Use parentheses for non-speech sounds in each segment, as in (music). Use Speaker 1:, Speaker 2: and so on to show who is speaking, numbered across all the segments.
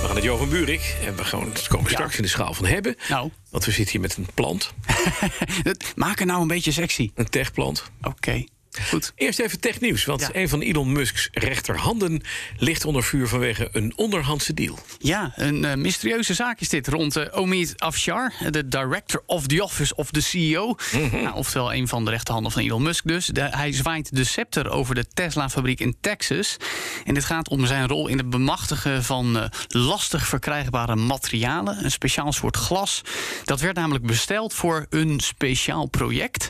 Speaker 1: We gaan naar Johan Buurik. En we gaan, we komen straks in de schaal van hebben.
Speaker 2: Nou.
Speaker 1: Want we zitten hier met een plant.
Speaker 2: Dat- Maak er nou een beetje sexy.
Speaker 1: Een techplant.
Speaker 2: Oké, goed.
Speaker 1: Eerst even technieuws. Want
Speaker 2: Ja.
Speaker 1: een van Elon Musk's rechterhanden ligt onder vuur vanwege een onderhandse deal.
Speaker 2: Ja, een eh, mysterieuze zaak is dit rond eh, Omid Afshar, de director of the office of the CEO. Nou, oftewel een van de rechterhanden van Elon Musk dus. De- hij zwaait de scepter over de Tesla-fabriek in Texas. En dit gaat om zijn rol in het bemachtigen van eh, lastig verkrijgbare materialen. Een speciaal soort glas. Dat werd namelijk besteld voor een speciaal project.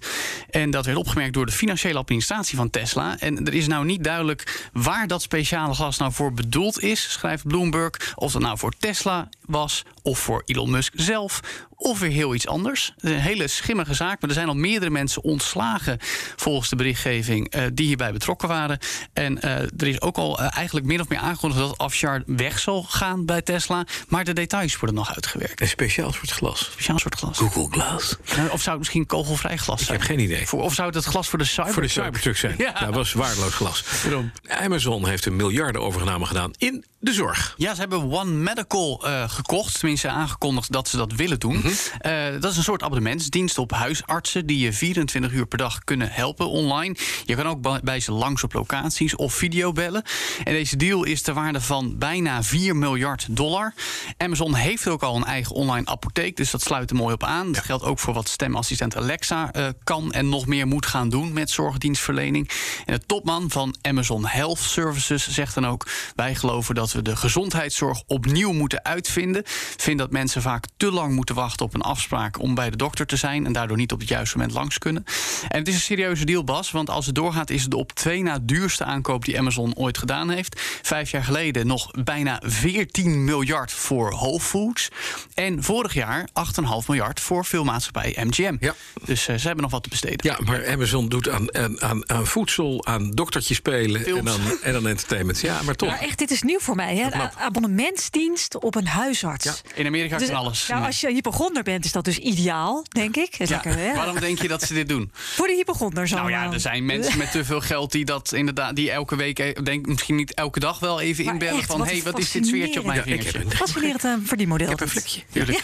Speaker 2: En dat werd opgemerkt door de financiële administratie van Tesla. En er is nou niet duidelijk waar dat speciale glas nou voor bedoeld is, schrijft Bloomberg. Of dat nou voor Tesla was, of voor Elon Musk zelf, of weer heel iets anders. Het is een hele schimmige zaak, maar er zijn al meerdere mensen ontslagen volgens de berichtgeving eh, die hierbij betrokken waren. En eh, er is ook al eh, eigenlijk min of meer aangekondigd dat Afshar weg zal gaan bij Tesla. Maar de details worden nog uitgewerkt.
Speaker 1: Een speciaal soort glas.
Speaker 2: Speciaal soort glas.
Speaker 1: Google Glass.
Speaker 2: Nou, Of zou het misschien kogelvrij glas zijn?
Speaker 1: Ik heb geen idee.
Speaker 2: Voor, of zou het het glas voor de cyber?
Speaker 1: Voor de Cybertruck zijn.
Speaker 2: Ja.
Speaker 1: Dat was waardeloos glas.
Speaker 2: Daarom.
Speaker 1: Amazon heeft een miljarden overname gedaan in de zorg.
Speaker 2: Ja, ze hebben One Medical eh, gekocht. Tenminste, aangekondigd dat ze dat willen doen. Eh, dat is een soort abonnementsdienst op huisartsen... die je 24 uur per dag kunnen helpen online. Je kan ook ba- bij ze langs op locaties of videobellen. En deze deal is ter waarde van bijna 4 miljard dollar. Amazon heeft ook al een eigen online apotheek... dus dat sluit er mooi op aan. Dat geldt ook voor wat stemassistent Alexa eh, kan en nog meer moet gaan doen... met zorgdienstverlening. En de topman van Amazon Health Services zegt dan ook... wij geloven dat we de gezondheidszorg opnieuw moeten uitvinden. Vind dat mensen vaak te lang moeten wachten op een afspraak... om bij de dokter te zijn en daardoor niet op het juiste moment langs kunnen. En het is een serieuze deal, Bas, want als het doorgaat... is het de op twee na duurste aankoop die Amazon ooit gedaan heeft. Vijf jaar geleden nog bijna 14 miljard voor Whole Foods. En vorig jaar 8,5 miljard voor filmmaatschappij MGM.
Speaker 1: Ja.
Speaker 2: Dus eh, ze hebben nog wat te besteden.
Speaker 1: Ja, maar Amazon doet aan, aan, aan, aan voedsel, aan doktertje spelen en
Speaker 2: Films.
Speaker 1: aan, en aan entertainment. Ja, maar toch.
Speaker 3: Maar echt, dit is nieuw voor mij. Hè? Een a- abonnementsdienst op een huisarts.
Speaker 2: In Amerika
Speaker 3: Dus-
Speaker 2: kan alles.
Speaker 3: Nou, als je hypochonder bent, is dat dus ideaal, denk ik. Is
Speaker 2: Ja,
Speaker 3: lekker, hè?
Speaker 2: Waarom denk je dat ze dit
Speaker 3: (laughs)
Speaker 2: doen?
Speaker 3: Voor de hypochonder eh, zo.
Speaker 2: Nou ja, er zijn mensen met te veel geld die dat inderdaad, die elke week, eh, denk misschien niet elke dag wel even
Speaker 3: Maar
Speaker 2: inbellen
Speaker 3: echt,
Speaker 2: van
Speaker 3: wat
Speaker 2: hey,
Speaker 3: een
Speaker 2: wat is dit zweertje op mijn
Speaker 1: Ja, ik heb
Speaker 2: vingertje?
Speaker 1: een-
Speaker 3: Fascinerend een verdienmodel.
Speaker 1: Ik heb een
Speaker 3: dit.
Speaker 1: vlekje.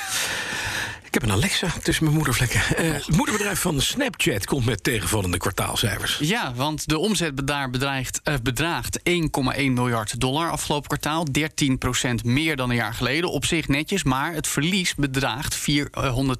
Speaker 1: Ik heb een Alexa tussen mijn moedervlekken. Eh, het moederbedrijf van Snapchat komt met tegenvallende kwartaalcijfers.
Speaker 2: Ja, want de omzet daar bedreigt, eh, bedraagt 1,1 miljard dollar afgelopen kwartaal. 13% meer dan een jaar geleden. Op zich netjes, maar het verlies bedraagt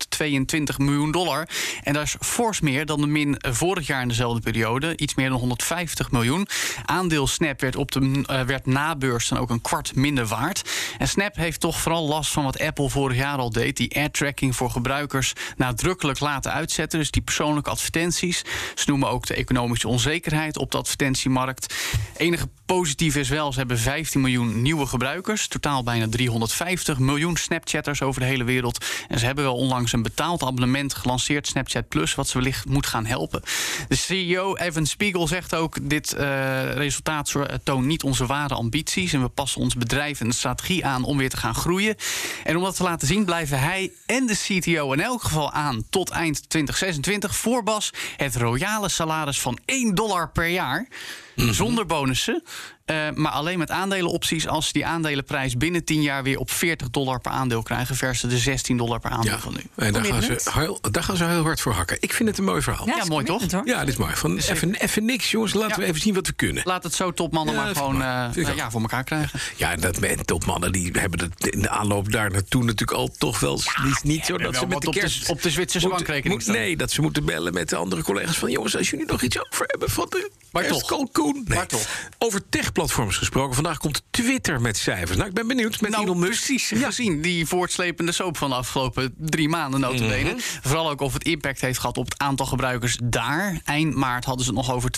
Speaker 2: 422 miljoen dollar. En dat is fors meer dan de min eh, vorig jaar in dezelfde periode. Iets meer dan 150 miljoen. Aandeel Snap werd, op de, eh, werd na beurs dan ook een kwart minder waard. En Snap heeft toch vooral last van wat Apple vorig jaar al deed. Die ad-tracking voor gebruikers nadrukkelijk laten uitzetten. Dus die persoonlijke advertenties. Ze noemen ook de economische onzekerheid op de advertentiemarkt. Enige positief is wel, ze hebben 15 miljoen nieuwe gebruikers. Totaal bijna 350 miljoen Snapchatters over de hele wereld. En ze hebben wel onlangs een betaald abonnement gelanceerd, Snapchat Plus, wat ze wellicht moet gaan helpen. De CEO Evan Spiegel zegt ook: Dit eh, resultaat zo- eh, toont niet onze ware ambities. En we passen ons bedrijf en de strategie aan om weer te gaan groeien. En om dat te laten zien, blijven hij en de CTO in elk geval aan tot eind 2026 voor Bas het royale salaris van 1 dollar per jaar.
Speaker 1: Mhm.
Speaker 2: Zonder bonussen. eh, maar alleen met aandelenopties als ze die aandelenprijs binnen 10 jaar weer op 40 dollar per aandeel krijgen. Versus de 16 dollar per aandeel van nu.
Speaker 1: en daar gaan, ze
Speaker 3: Commitment.
Speaker 1: heel, daar gaan ze heel hard voor hakken. Ik vind het een mooi verhaal.
Speaker 2: Ja,
Speaker 1: Ja,
Speaker 3: is
Speaker 2: mooi, toch?
Speaker 3: commitment, hoor.
Speaker 1: dit is mooi. Van even, even niks, jongens. Laten
Speaker 2: Ja.
Speaker 1: we even zien wat we kunnen.
Speaker 2: Laat het zo topmannen
Speaker 1: Ja,
Speaker 2: maar
Speaker 1: dat is
Speaker 2: gewoon
Speaker 1: mooi.
Speaker 2: eh,
Speaker 1: Vind ik
Speaker 2: nou
Speaker 1: ook.
Speaker 2: ja, voor elkaar krijgen.
Speaker 1: Ja, en dat men- topmannen die hebben het in de aanloop daar naartoe natuurlijk al toch wel niet, niet zo dat
Speaker 2: wel
Speaker 1: ze met
Speaker 2: wat
Speaker 1: de
Speaker 2: op de-
Speaker 1: kerst
Speaker 2: op de Zwitserse
Speaker 1: moeten-
Speaker 2: bankrekening
Speaker 1: moet-
Speaker 2: staan.
Speaker 1: nee, dat ze moeten bellen met de andere collega's van jongens, als jullie nog iets over hebben van de
Speaker 2: Maar toch.
Speaker 1: kerstkalkoen. Nee.
Speaker 2: Maar toch.
Speaker 1: Over platforms gesproken. Vandaag komt Twitter met cijfers. Nou, ik ben benieuwd met
Speaker 2: nou,
Speaker 1: Elon Musk.
Speaker 2: precies gezien die voortslepende soap van de afgelopen drie maanden notabene.
Speaker 1: Mhm.
Speaker 2: Vooral ook of het impact heeft gehad op het aantal gebruikers daar. Eind maart hadden ze het nog over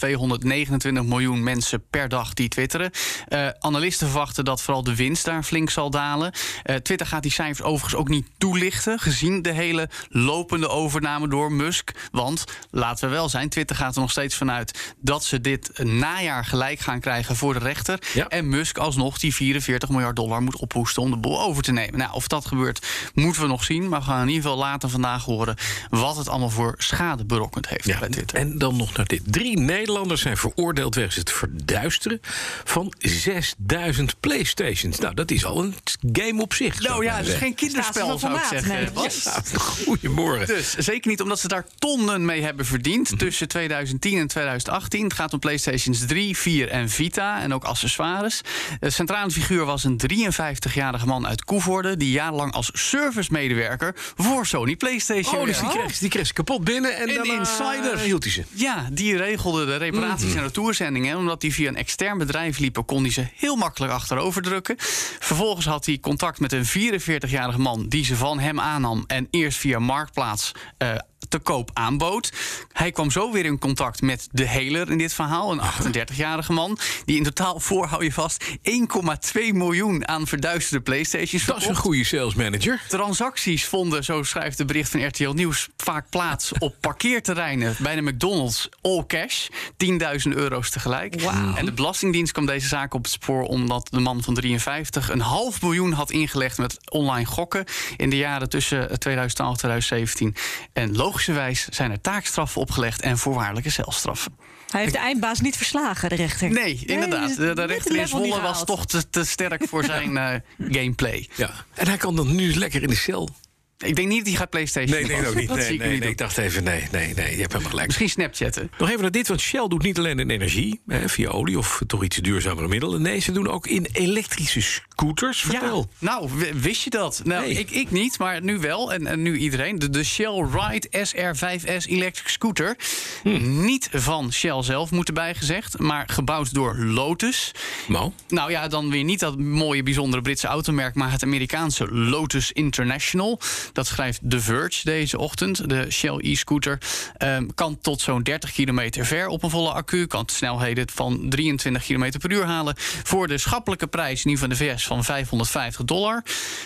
Speaker 2: 229 miljoen mensen per dag die twitteren. Eh, analisten verwachten dat vooral de winst daar flink zal dalen. Eh, Twitter gaat die cijfers overigens ook niet toelichten, gezien de hele lopende overname door Musk. Want laten we wel zijn, Twitter gaat er nog steeds vanuit dat ze dit najaar gelijk gaan krijgen voor de rechter.
Speaker 1: Ja.
Speaker 2: En Musk alsnog die 44 miljard dollar moet ophoesten om de boel over te nemen. Nou, of dat gebeurt, moeten we nog zien. Maar we gaan in ieder geval later vandaag horen wat het allemaal voor schade berokkend heeft bij Twitter.
Speaker 1: en dan nog naar dit. Drie Nederlanders zijn veroordeeld wegens het verduisteren van 6000 PlayStations. Nou, dat is al een game op zich. zou
Speaker 2: Nou
Speaker 1: ik
Speaker 2: ja,
Speaker 1: maar
Speaker 2: het is
Speaker 1: zeggen.
Speaker 2: geen kinderspel,
Speaker 3: Staat ze
Speaker 2: zou
Speaker 3: wel
Speaker 2: ik
Speaker 3: van maat?
Speaker 2: zeggen.
Speaker 3: Nee.
Speaker 2: Bas.
Speaker 3: Yes.
Speaker 1: (laughs) Nou, Goedemorgen.
Speaker 2: Dus zeker niet omdat ze daar tonnen mee hebben verdiend tussen 2010 en 2018. Het gaat om PlayStations 3, 4 en Vita en ook accessoires. De centrale figuur was een 53-jarige man uit Koevoorde die jarenlang als servicemedewerker voor Sony PlayStation
Speaker 1: Oh, dus die
Speaker 2: werkte.
Speaker 1: kreeg, die kreeg ze kapot binnen en
Speaker 2: En
Speaker 1: dan eh,
Speaker 2: die insider.
Speaker 1: hield hij ze.
Speaker 2: Ja, die regelde de reparaties
Speaker 1: Mhm.
Speaker 2: en retourzendingen. En omdat die via een extern bedrijf liepen, kon hij ze heel makkelijk achterover drukken. Vervolgens had hij contact met een 44-jarige man die ze van hem aannam en eerst via Marktplaats eh, te koop aanbood. Hij kwam zo weer in contact met de heler in dit
Speaker 1: (laughs)
Speaker 2: verhaal, een 38-jarige man, die in totaal, voor hou je vast, 1,2 miljoen aan verduisterde PlayStations
Speaker 1: Dat is een
Speaker 2: verkocht.
Speaker 1: goede sales manager.
Speaker 2: Transacties vonden, zo schrijft de bericht van RTL Nieuws, vaak plaats op parkeerterreinen bij de McDonald's all cash. 10.000 euro's tegelijk. En de Belastingdienst kwam deze zaak op het spoor omdat de man van 53 een half miljoen had ingelegd met online gokken in de jaren tussen 2012 en 2017. En logischerwijs zijn er taakstraffen opgelegd en voorwaardelijke celstraffen.
Speaker 3: Hij heeft de eindbaas niet verslagen, de rechter.
Speaker 2: Nee, inderdaad.
Speaker 3: dus
Speaker 2: de,
Speaker 3: net
Speaker 2: de
Speaker 3: het
Speaker 2: rechter in
Speaker 3: level niet
Speaker 2: Zwolle was
Speaker 3: gehaald.
Speaker 2: toch te, te sterk voor zijn
Speaker 3: (laughs)
Speaker 2: eh, gameplay.
Speaker 1: Ja. En hij kan dan nu lekker in de cel.
Speaker 2: Ik denk niet dat hij gaat PlayStation
Speaker 1: Nee, nee,
Speaker 2: passen.
Speaker 1: ook (laughs) niet.
Speaker 2: Dat
Speaker 1: Nee,
Speaker 2: zie ik
Speaker 1: nee,
Speaker 2: niet
Speaker 1: nee, ik dacht even, nee, nee, nee, je hebt helemaal gelijk.
Speaker 2: Misschien Snapchatten.
Speaker 1: Nog even naar dit, want Shell doet niet alleen in energie, hè, via olie of toch iets duurzamere middelen. Nee, ze doen ook in elektrische scooters. Vertel.
Speaker 2: Ja, nou, w- wist je dat? Nou,
Speaker 1: Nee.
Speaker 2: ik, ik niet, maar nu wel. En, en nu iedereen. De, de Shell Ride SR5S Electric Scooter. Niet van Shell zelf, moet erbij gezegd. Maar gebouwd door Lotus.
Speaker 1: Mo,
Speaker 2: Nou ja, dan weer niet dat mooie, bijzondere Britse automerk, maar het Amerikaanse Lotus International. Dat schrijft The Verge deze ochtend. De Shell e-scooter ehm, kan tot zo'n 30 kilometer ver op een volle accu. Kan snelheden van 23 km per uur halen. Voor de schappelijke prijs, nu van de VS, van 550 dollar.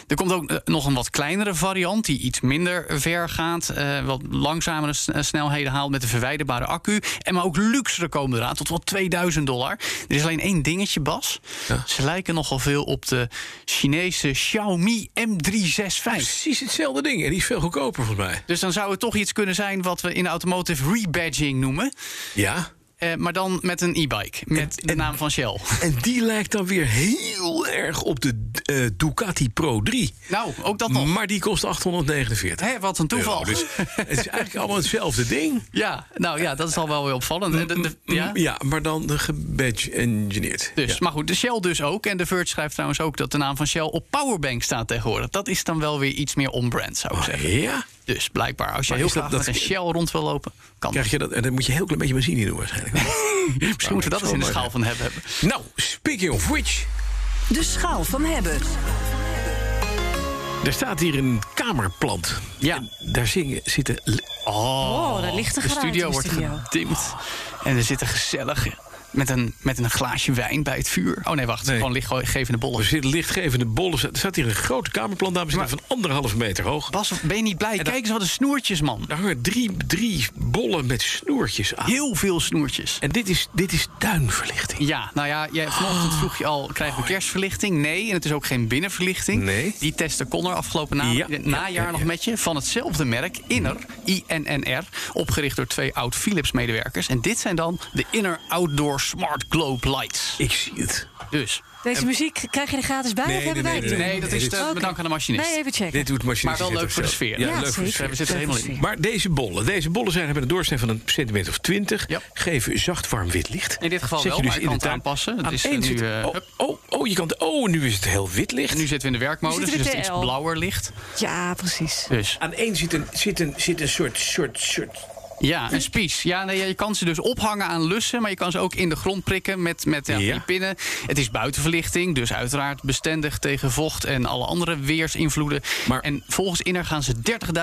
Speaker 2: Er komt ook eh, nog een wat kleinere variant, die iets minder ver gaat. eh, wat langzamere s- eh, snelheden haalt met een verwijderbare accu. En maar ook luxere komen eraan, tot wel 2000 dollar. Er is alleen één dingetje, Bas. Ze lijken nogal veel op de Chinese Xiaomi M365.
Speaker 1: precies hetzelfde ding en die is veel goedkoper volgens mij.
Speaker 2: Dus dan zou het toch iets kunnen zijn wat we in de automotive rebadging noemen.
Speaker 1: Ja.
Speaker 2: Eh, maar dan met een e-bike. Met de naam van Shell.
Speaker 1: En die lijkt dan weer heel erg op de eh, Ducati Pro 3.
Speaker 2: Nou, ook dat nog.
Speaker 1: Maar die kost 849.
Speaker 2: Hé, wat een toeval.
Speaker 1: euro. Dus het is eigenlijk allemaal hetzelfde ding.
Speaker 2: Ja, nou ja, dat is al wel weer opvallend. En de- de- ja?
Speaker 1: Ja, maar dan eh, gebadge engineerd.
Speaker 2: Dus, maar goed, de Shell dus ook. En de Verge schrijft trouwens ook dat de naam van Shell op Powerbank staat tegenwoordig. Dat is dan wel weer iets meer on-brand, zou ik
Speaker 1: Oh, Ja.
Speaker 2: zeggen.
Speaker 1: ja.
Speaker 2: Dus blijkbaar, als je
Speaker 1: Maar
Speaker 2: heel
Speaker 1: is dat-
Speaker 2: graag
Speaker 1: dat-
Speaker 2: met een Shell rond wil lopen,
Speaker 1: (laughs)
Speaker 2: kan
Speaker 1: Krijg je dat, en dan moet je een heel klein beetje benzine in doen waarschijnlijk.
Speaker 2: Misschien moeten we dat eens in de schaal van hebben.
Speaker 1: (laughs) nou, speaking of which...
Speaker 3: De schaal van hebben.
Speaker 1: Er staat hier een kamerplant.
Speaker 2: Ja.
Speaker 1: En daar zingen, zitten. le-
Speaker 3: Oh, daar ligt er
Speaker 2: De studio wordt gedimd. En er zitten gezellig met een, met een glaasje wijn bij het vuur. Oh nee, wacht.
Speaker 1: Nee.
Speaker 2: Gewoon lichtgevende
Speaker 1: Er
Speaker 2: bollen.
Speaker 1: zitten lichtgevende bollen. Er staat hier een grote kamerplant, dames en heren, van anderhalve meter hoog.
Speaker 2: Bas, ben je niet blij? Kijk eens wat de snoertjes, man.
Speaker 1: Daar hangen drie, drie bollen met snoertjes aan.
Speaker 2: Heel veel snoertjes.
Speaker 1: En dit is, dit is tuinverlichting.
Speaker 2: Ja, nou ja, jij, vanochtend vroeg je al, krijgen we kerstverlichting? Nee, en het is ook geen binnenverlichting.
Speaker 1: Oh, Nee.
Speaker 2: Die testen kon er afgelopen na, eh,
Speaker 1: Ja, ja,
Speaker 2: najaar
Speaker 1: ja, ja.
Speaker 2: nog met je. Van hetzelfde merk, Inner, INNR. Opgericht door twee oud-Philips-medewerkers. En dit zijn dan de Inner Outdoor Smart Globe Lights.
Speaker 1: Ik zie het.
Speaker 2: Dus...
Speaker 3: Deze muziek krijg je er gratis bij
Speaker 1: Nee,
Speaker 3: of hebben
Speaker 1: nee,
Speaker 3: wij
Speaker 1: nee,
Speaker 3: het?
Speaker 2: Nee, dat is te
Speaker 3: Oké.
Speaker 2: bedanken aan de machinist.
Speaker 3: Nee, even checken.
Speaker 1: Dit doet machine.
Speaker 2: Maar wel leuk voor de sfeer.
Speaker 1: Ja,
Speaker 3: Ja,
Speaker 1: leuk voor de
Speaker 3: zeker.
Speaker 1: sfeer.
Speaker 2: We zitten er helemaal in.
Speaker 1: Maar deze bollen, deze bollen zijn, hebben een doorsnee van een centimeter of twintig.
Speaker 2: Ja.
Speaker 1: Geven zacht warm wit licht.
Speaker 2: In dit geval
Speaker 1: Zet
Speaker 2: wel,
Speaker 1: je
Speaker 2: maar
Speaker 1: dus
Speaker 2: je
Speaker 1: in
Speaker 2: kan
Speaker 1: de
Speaker 2: het
Speaker 1: tuin.
Speaker 2: aanpassen. Het
Speaker 1: Aan
Speaker 2: is,
Speaker 1: één
Speaker 2: eh, nu,
Speaker 1: zit-
Speaker 2: eh,
Speaker 1: oh,
Speaker 2: hup.
Speaker 1: oh, oh, je kan. Oh, nu is het heel wit licht.
Speaker 2: En nu zitten we in de werkmodus,
Speaker 3: Nu
Speaker 2: dus
Speaker 3: zitten we
Speaker 2: het is iets
Speaker 3: TL.
Speaker 2: blauwer licht.
Speaker 3: Ja, precies.
Speaker 2: Dus
Speaker 1: Aan één zit een, zit een, zit een soort, soort, soort
Speaker 2: Ja, een spies. Ja, nee, ja, je kan ze dus ophangen aan lussen, maar je kan ze ook in de grond prikken met, met ja,
Speaker 1: Ja.
Speaker 2: die pinnen. Het is buitenverlichting, dus uiteraard bestendig tegen vocht en alle andere weersinvloeden.
Speaker 1: Maar-
Speaker 2: En volgens Inner gaan ze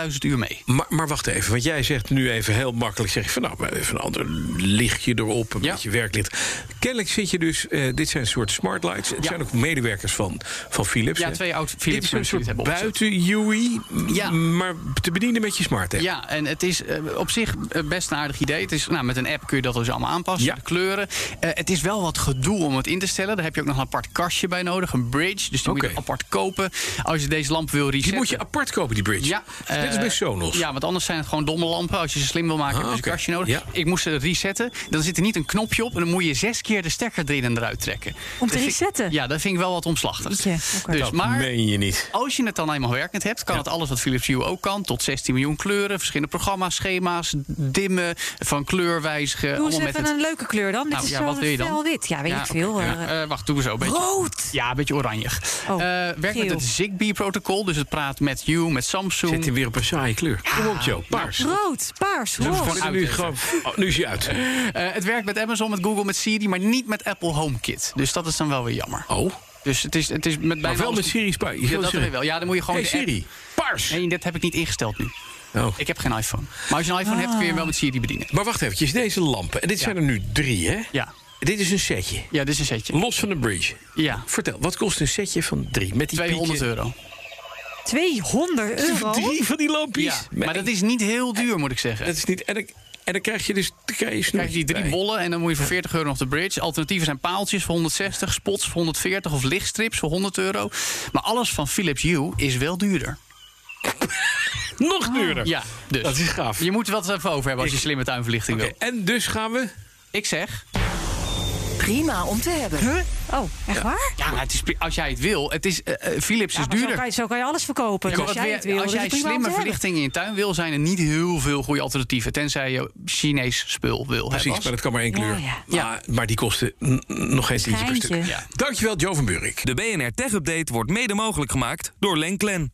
Speaker 2: 30.000 uur mee.
Speaker 1: Maar, maar wacht even, want jij zegt nu even heel makkelijk... zeg je van nou, even een ander lichtje erop, een
Speaker 2: Ja.
Speaker 1: beetje werklicht. Kennelijk zit je dus, eh, dit zijn een soort smart lights. Het
Speaker 2: Ja.
Speaker 1: zijn ook medewerkers van, van Philips.
Speaker 2: Ja,
Speaker 1: hè?
Speaker 2: twee oud Philips
Speaker 1: Dit is een
Speaker 2: mensen die het
Speaker 1: soort
Speaker 2: hebben
Speaker 1: buiten
Speaker 2: opgezet.
Speaker 1: UI,
Speaker 2: Ja.
Speaker 1: maar te bedienen met je smart app.
Speaker 2: Ja, en het is eh, op zich eh, best een aardig idee. Het is, nou, met een app kun je dat dus allemaal aanpassen,
Speaker 1: Ja.
Speaker 2: de kleuren. Eh, het is wel wat gedoe om het in te stellen. Daar heb je ook nog een apart kastje bij nodig, een bridge. Dus die moet
Speaker 1: Oké.
Speaker 2: je apart kopen. Als je deze lamp wil resetten...
Speaker 1: Die moet je apart kopen, die bridge.
Speaker 2: Ja,
Speaker 1: Net als Dus bij
Speaker 2: eh,
Speaker 1: Sonos.
Speaker 2: Ja, want anders zijn het gewoon domme lampen. Als je ze slim wil maken,
Speaker 1: Ah,
Speaker 2: heb je dus
Speaker 1: oké.
Speaker 2: een kastje nodig.
Speaker 1: Ja.
Speaker 2: Ik moest ze resetten. Dan zit er niet een knopje op. En dan moet je zes keer de stekker erin en eruit trekken.
Speaker 3: Om te
Speaker 2: Dat vind-
Speaker 3: resetten?
Speaker 2: Ja, dat vind ik wel wat omslachtig.
Speaker 3: Jeetje, oké.
Speaker 2: Dus,
Speaker 1: Dat
Speaker 2: maar
Speaker 1: meen je niet.
Speaker 2: als je het dan eenmaal werkend hebt, kan het alles wat Philips Hue ook kan. Tot 16 miljoen kleuren, verschillende programma's, schema's, dimmen, van kleur wijzigen.
Speaker 3: Doe eens
Speaker 2: allemaal met
Speaker 3: even
Speaker 2: het...
Speaker 3: een leuke kleur dan. Dit
Speaker 2: Nou,
Speaker 3: is
Speaker 2: ja,
Speaker 3: zo
Speaker 2: wat wil je dan?
Speaker 3: fel wit. Ja, weet
Speaker 2: Ja,
Speaker 3: ik veel.
Speaker 2: oké.
Speaker 3: eh,
Speaker 2: Ja, eh, wacht, doe eens zo. een beetje-
Speaker 3: rood!
Speaker 2: Ja, een beetje oranje.
Speaker 3: Oh,
Speaker 2: Eh, werkt met
Speaker 3: geel.
Speaker 2: het Zigbee-protocol, dus het praat met Hue, met Samsung.
Speaker 1: Zet hem weer op een saaie kleur. Kom op, Joe. Paars.
Speaker 3: Rood, paars,
Speaker 1: Doe het
Speaker 3: roze.
Speaker 1: gewoon- nu, gewoon, oh, nu is hij uit.
Speaker 2: Eh, het werkt met Amazon, met Google, met Siri, maar niet met Apple HomeKit. Dus dat is dan wel weer jammer.
Speaker 1: Oh,
Speaker 2: Dus het is, het is met bijna
Speaker 1: maar wel
Speaker 2: alles-
Speaker 1: met Siri Spy.
Speaker 2: Ja, dat weet ik wel. Ja, dan moet je gewoon
Speaker 1: hey,
Speaker 2: de app-
Speaker 1: Siri, paars.
Speaker 2: Nee, dat heb ik niet ingesteld nu.
Speaker 1: Oh.
Speaker 2: Ik heb geen iPhone. Maar als je een iPhone hebt, kun
Speaker 1: Ah.
Speaker 2: je hem wel met Siri bedienen.
Speaker 1: Maar wacht eventjes, deze lampen. En dit zijn er nu drie, hè?
Speaker 2: Ja.
Speaker 1: Dit is een setje.
Speaker 2: Ja, dit is een setje.
Speaker 1: Los van de bridge.
Speaker 2: Ja,
Speaker 1: Vertel, wat kost een setje van drie? Met die
Speaker 2: 200
Speaker 1: piekje-
Speaker 2: euro.
Speaker 3: 200 euro.
Speaker 1: Drie van die lampjes?
Speaker 2: Ja, maar dat is niet heel duur, moet ik zeggen.
Speaker 1: Dat is niet... En dan, en dan krijg je dus... Dan krijg je,
Speaker 2: Krijg je die drie
Speaker 1: snoertjes bij.
Speaker 2: bollen en dan moet je voor 40 euro nog de bridge. Alternatieven zijn paaltjes voor 160, spots voor 140 of lichtstrips voor 100 euro. Maar alles van Philips Hue is wel duurder.
Speaker 1: Nog duurder.
Speaker 2: Ja, dus.
Speaker 1: Dat is gaaf.
Speaker 2: Je moet wat even over hebben als je slimme tuinverlichting
Speaker 1: Oké,
Speaker 2: wil.
Speaker 1: en dus gaan we...
Speaker 2: Ik zeg,
Speaker 4: Prima om te hebben.
Speaker 3: Oh, echt waar?
Speaker 2: ja, maar het is, pri- als jij het wil, het is, eh, eh, Philips
Speaker 3: Ja,
Speaker 2: is
Speaker 3: maar zo
Speaker 2: duurder.
Speaker 3: kan, je, zo kan je alles verkopen.
Speaker 2: Ja, maar
Speaker 3: als
Speaker 2: wat
Speaker 3: jij
Speaker 2: wil-
Speaker 3: het wil,
Speaker 2: als
Speaker 3: is
Speaker 2: jij
Speaker 3: het prima om te
Speaker 2: slimme
Speaker 3: hebben.
Speaker 2: verlichting in je tuin wil, zijn er niet heel veel goede alternatieven. Tenzij je Chinees spul wil
Speaker 1: Precies, maar
Speaker 2: hebben.
Speaker 1: dat kan maar één kleur.
Speaker 3: Ja, ja.
Speaker 1: Maar, maar die kosten mm, mm, nog geen tientje per stuk.
Speaker 3: Schijntje.
Speaker 2: Ja.
Speaker 1: Dankjewel, Jo van Burik.
Speaker 5: De BNR Tech Update wordt mede mogelijk gemaakt door Lenklen.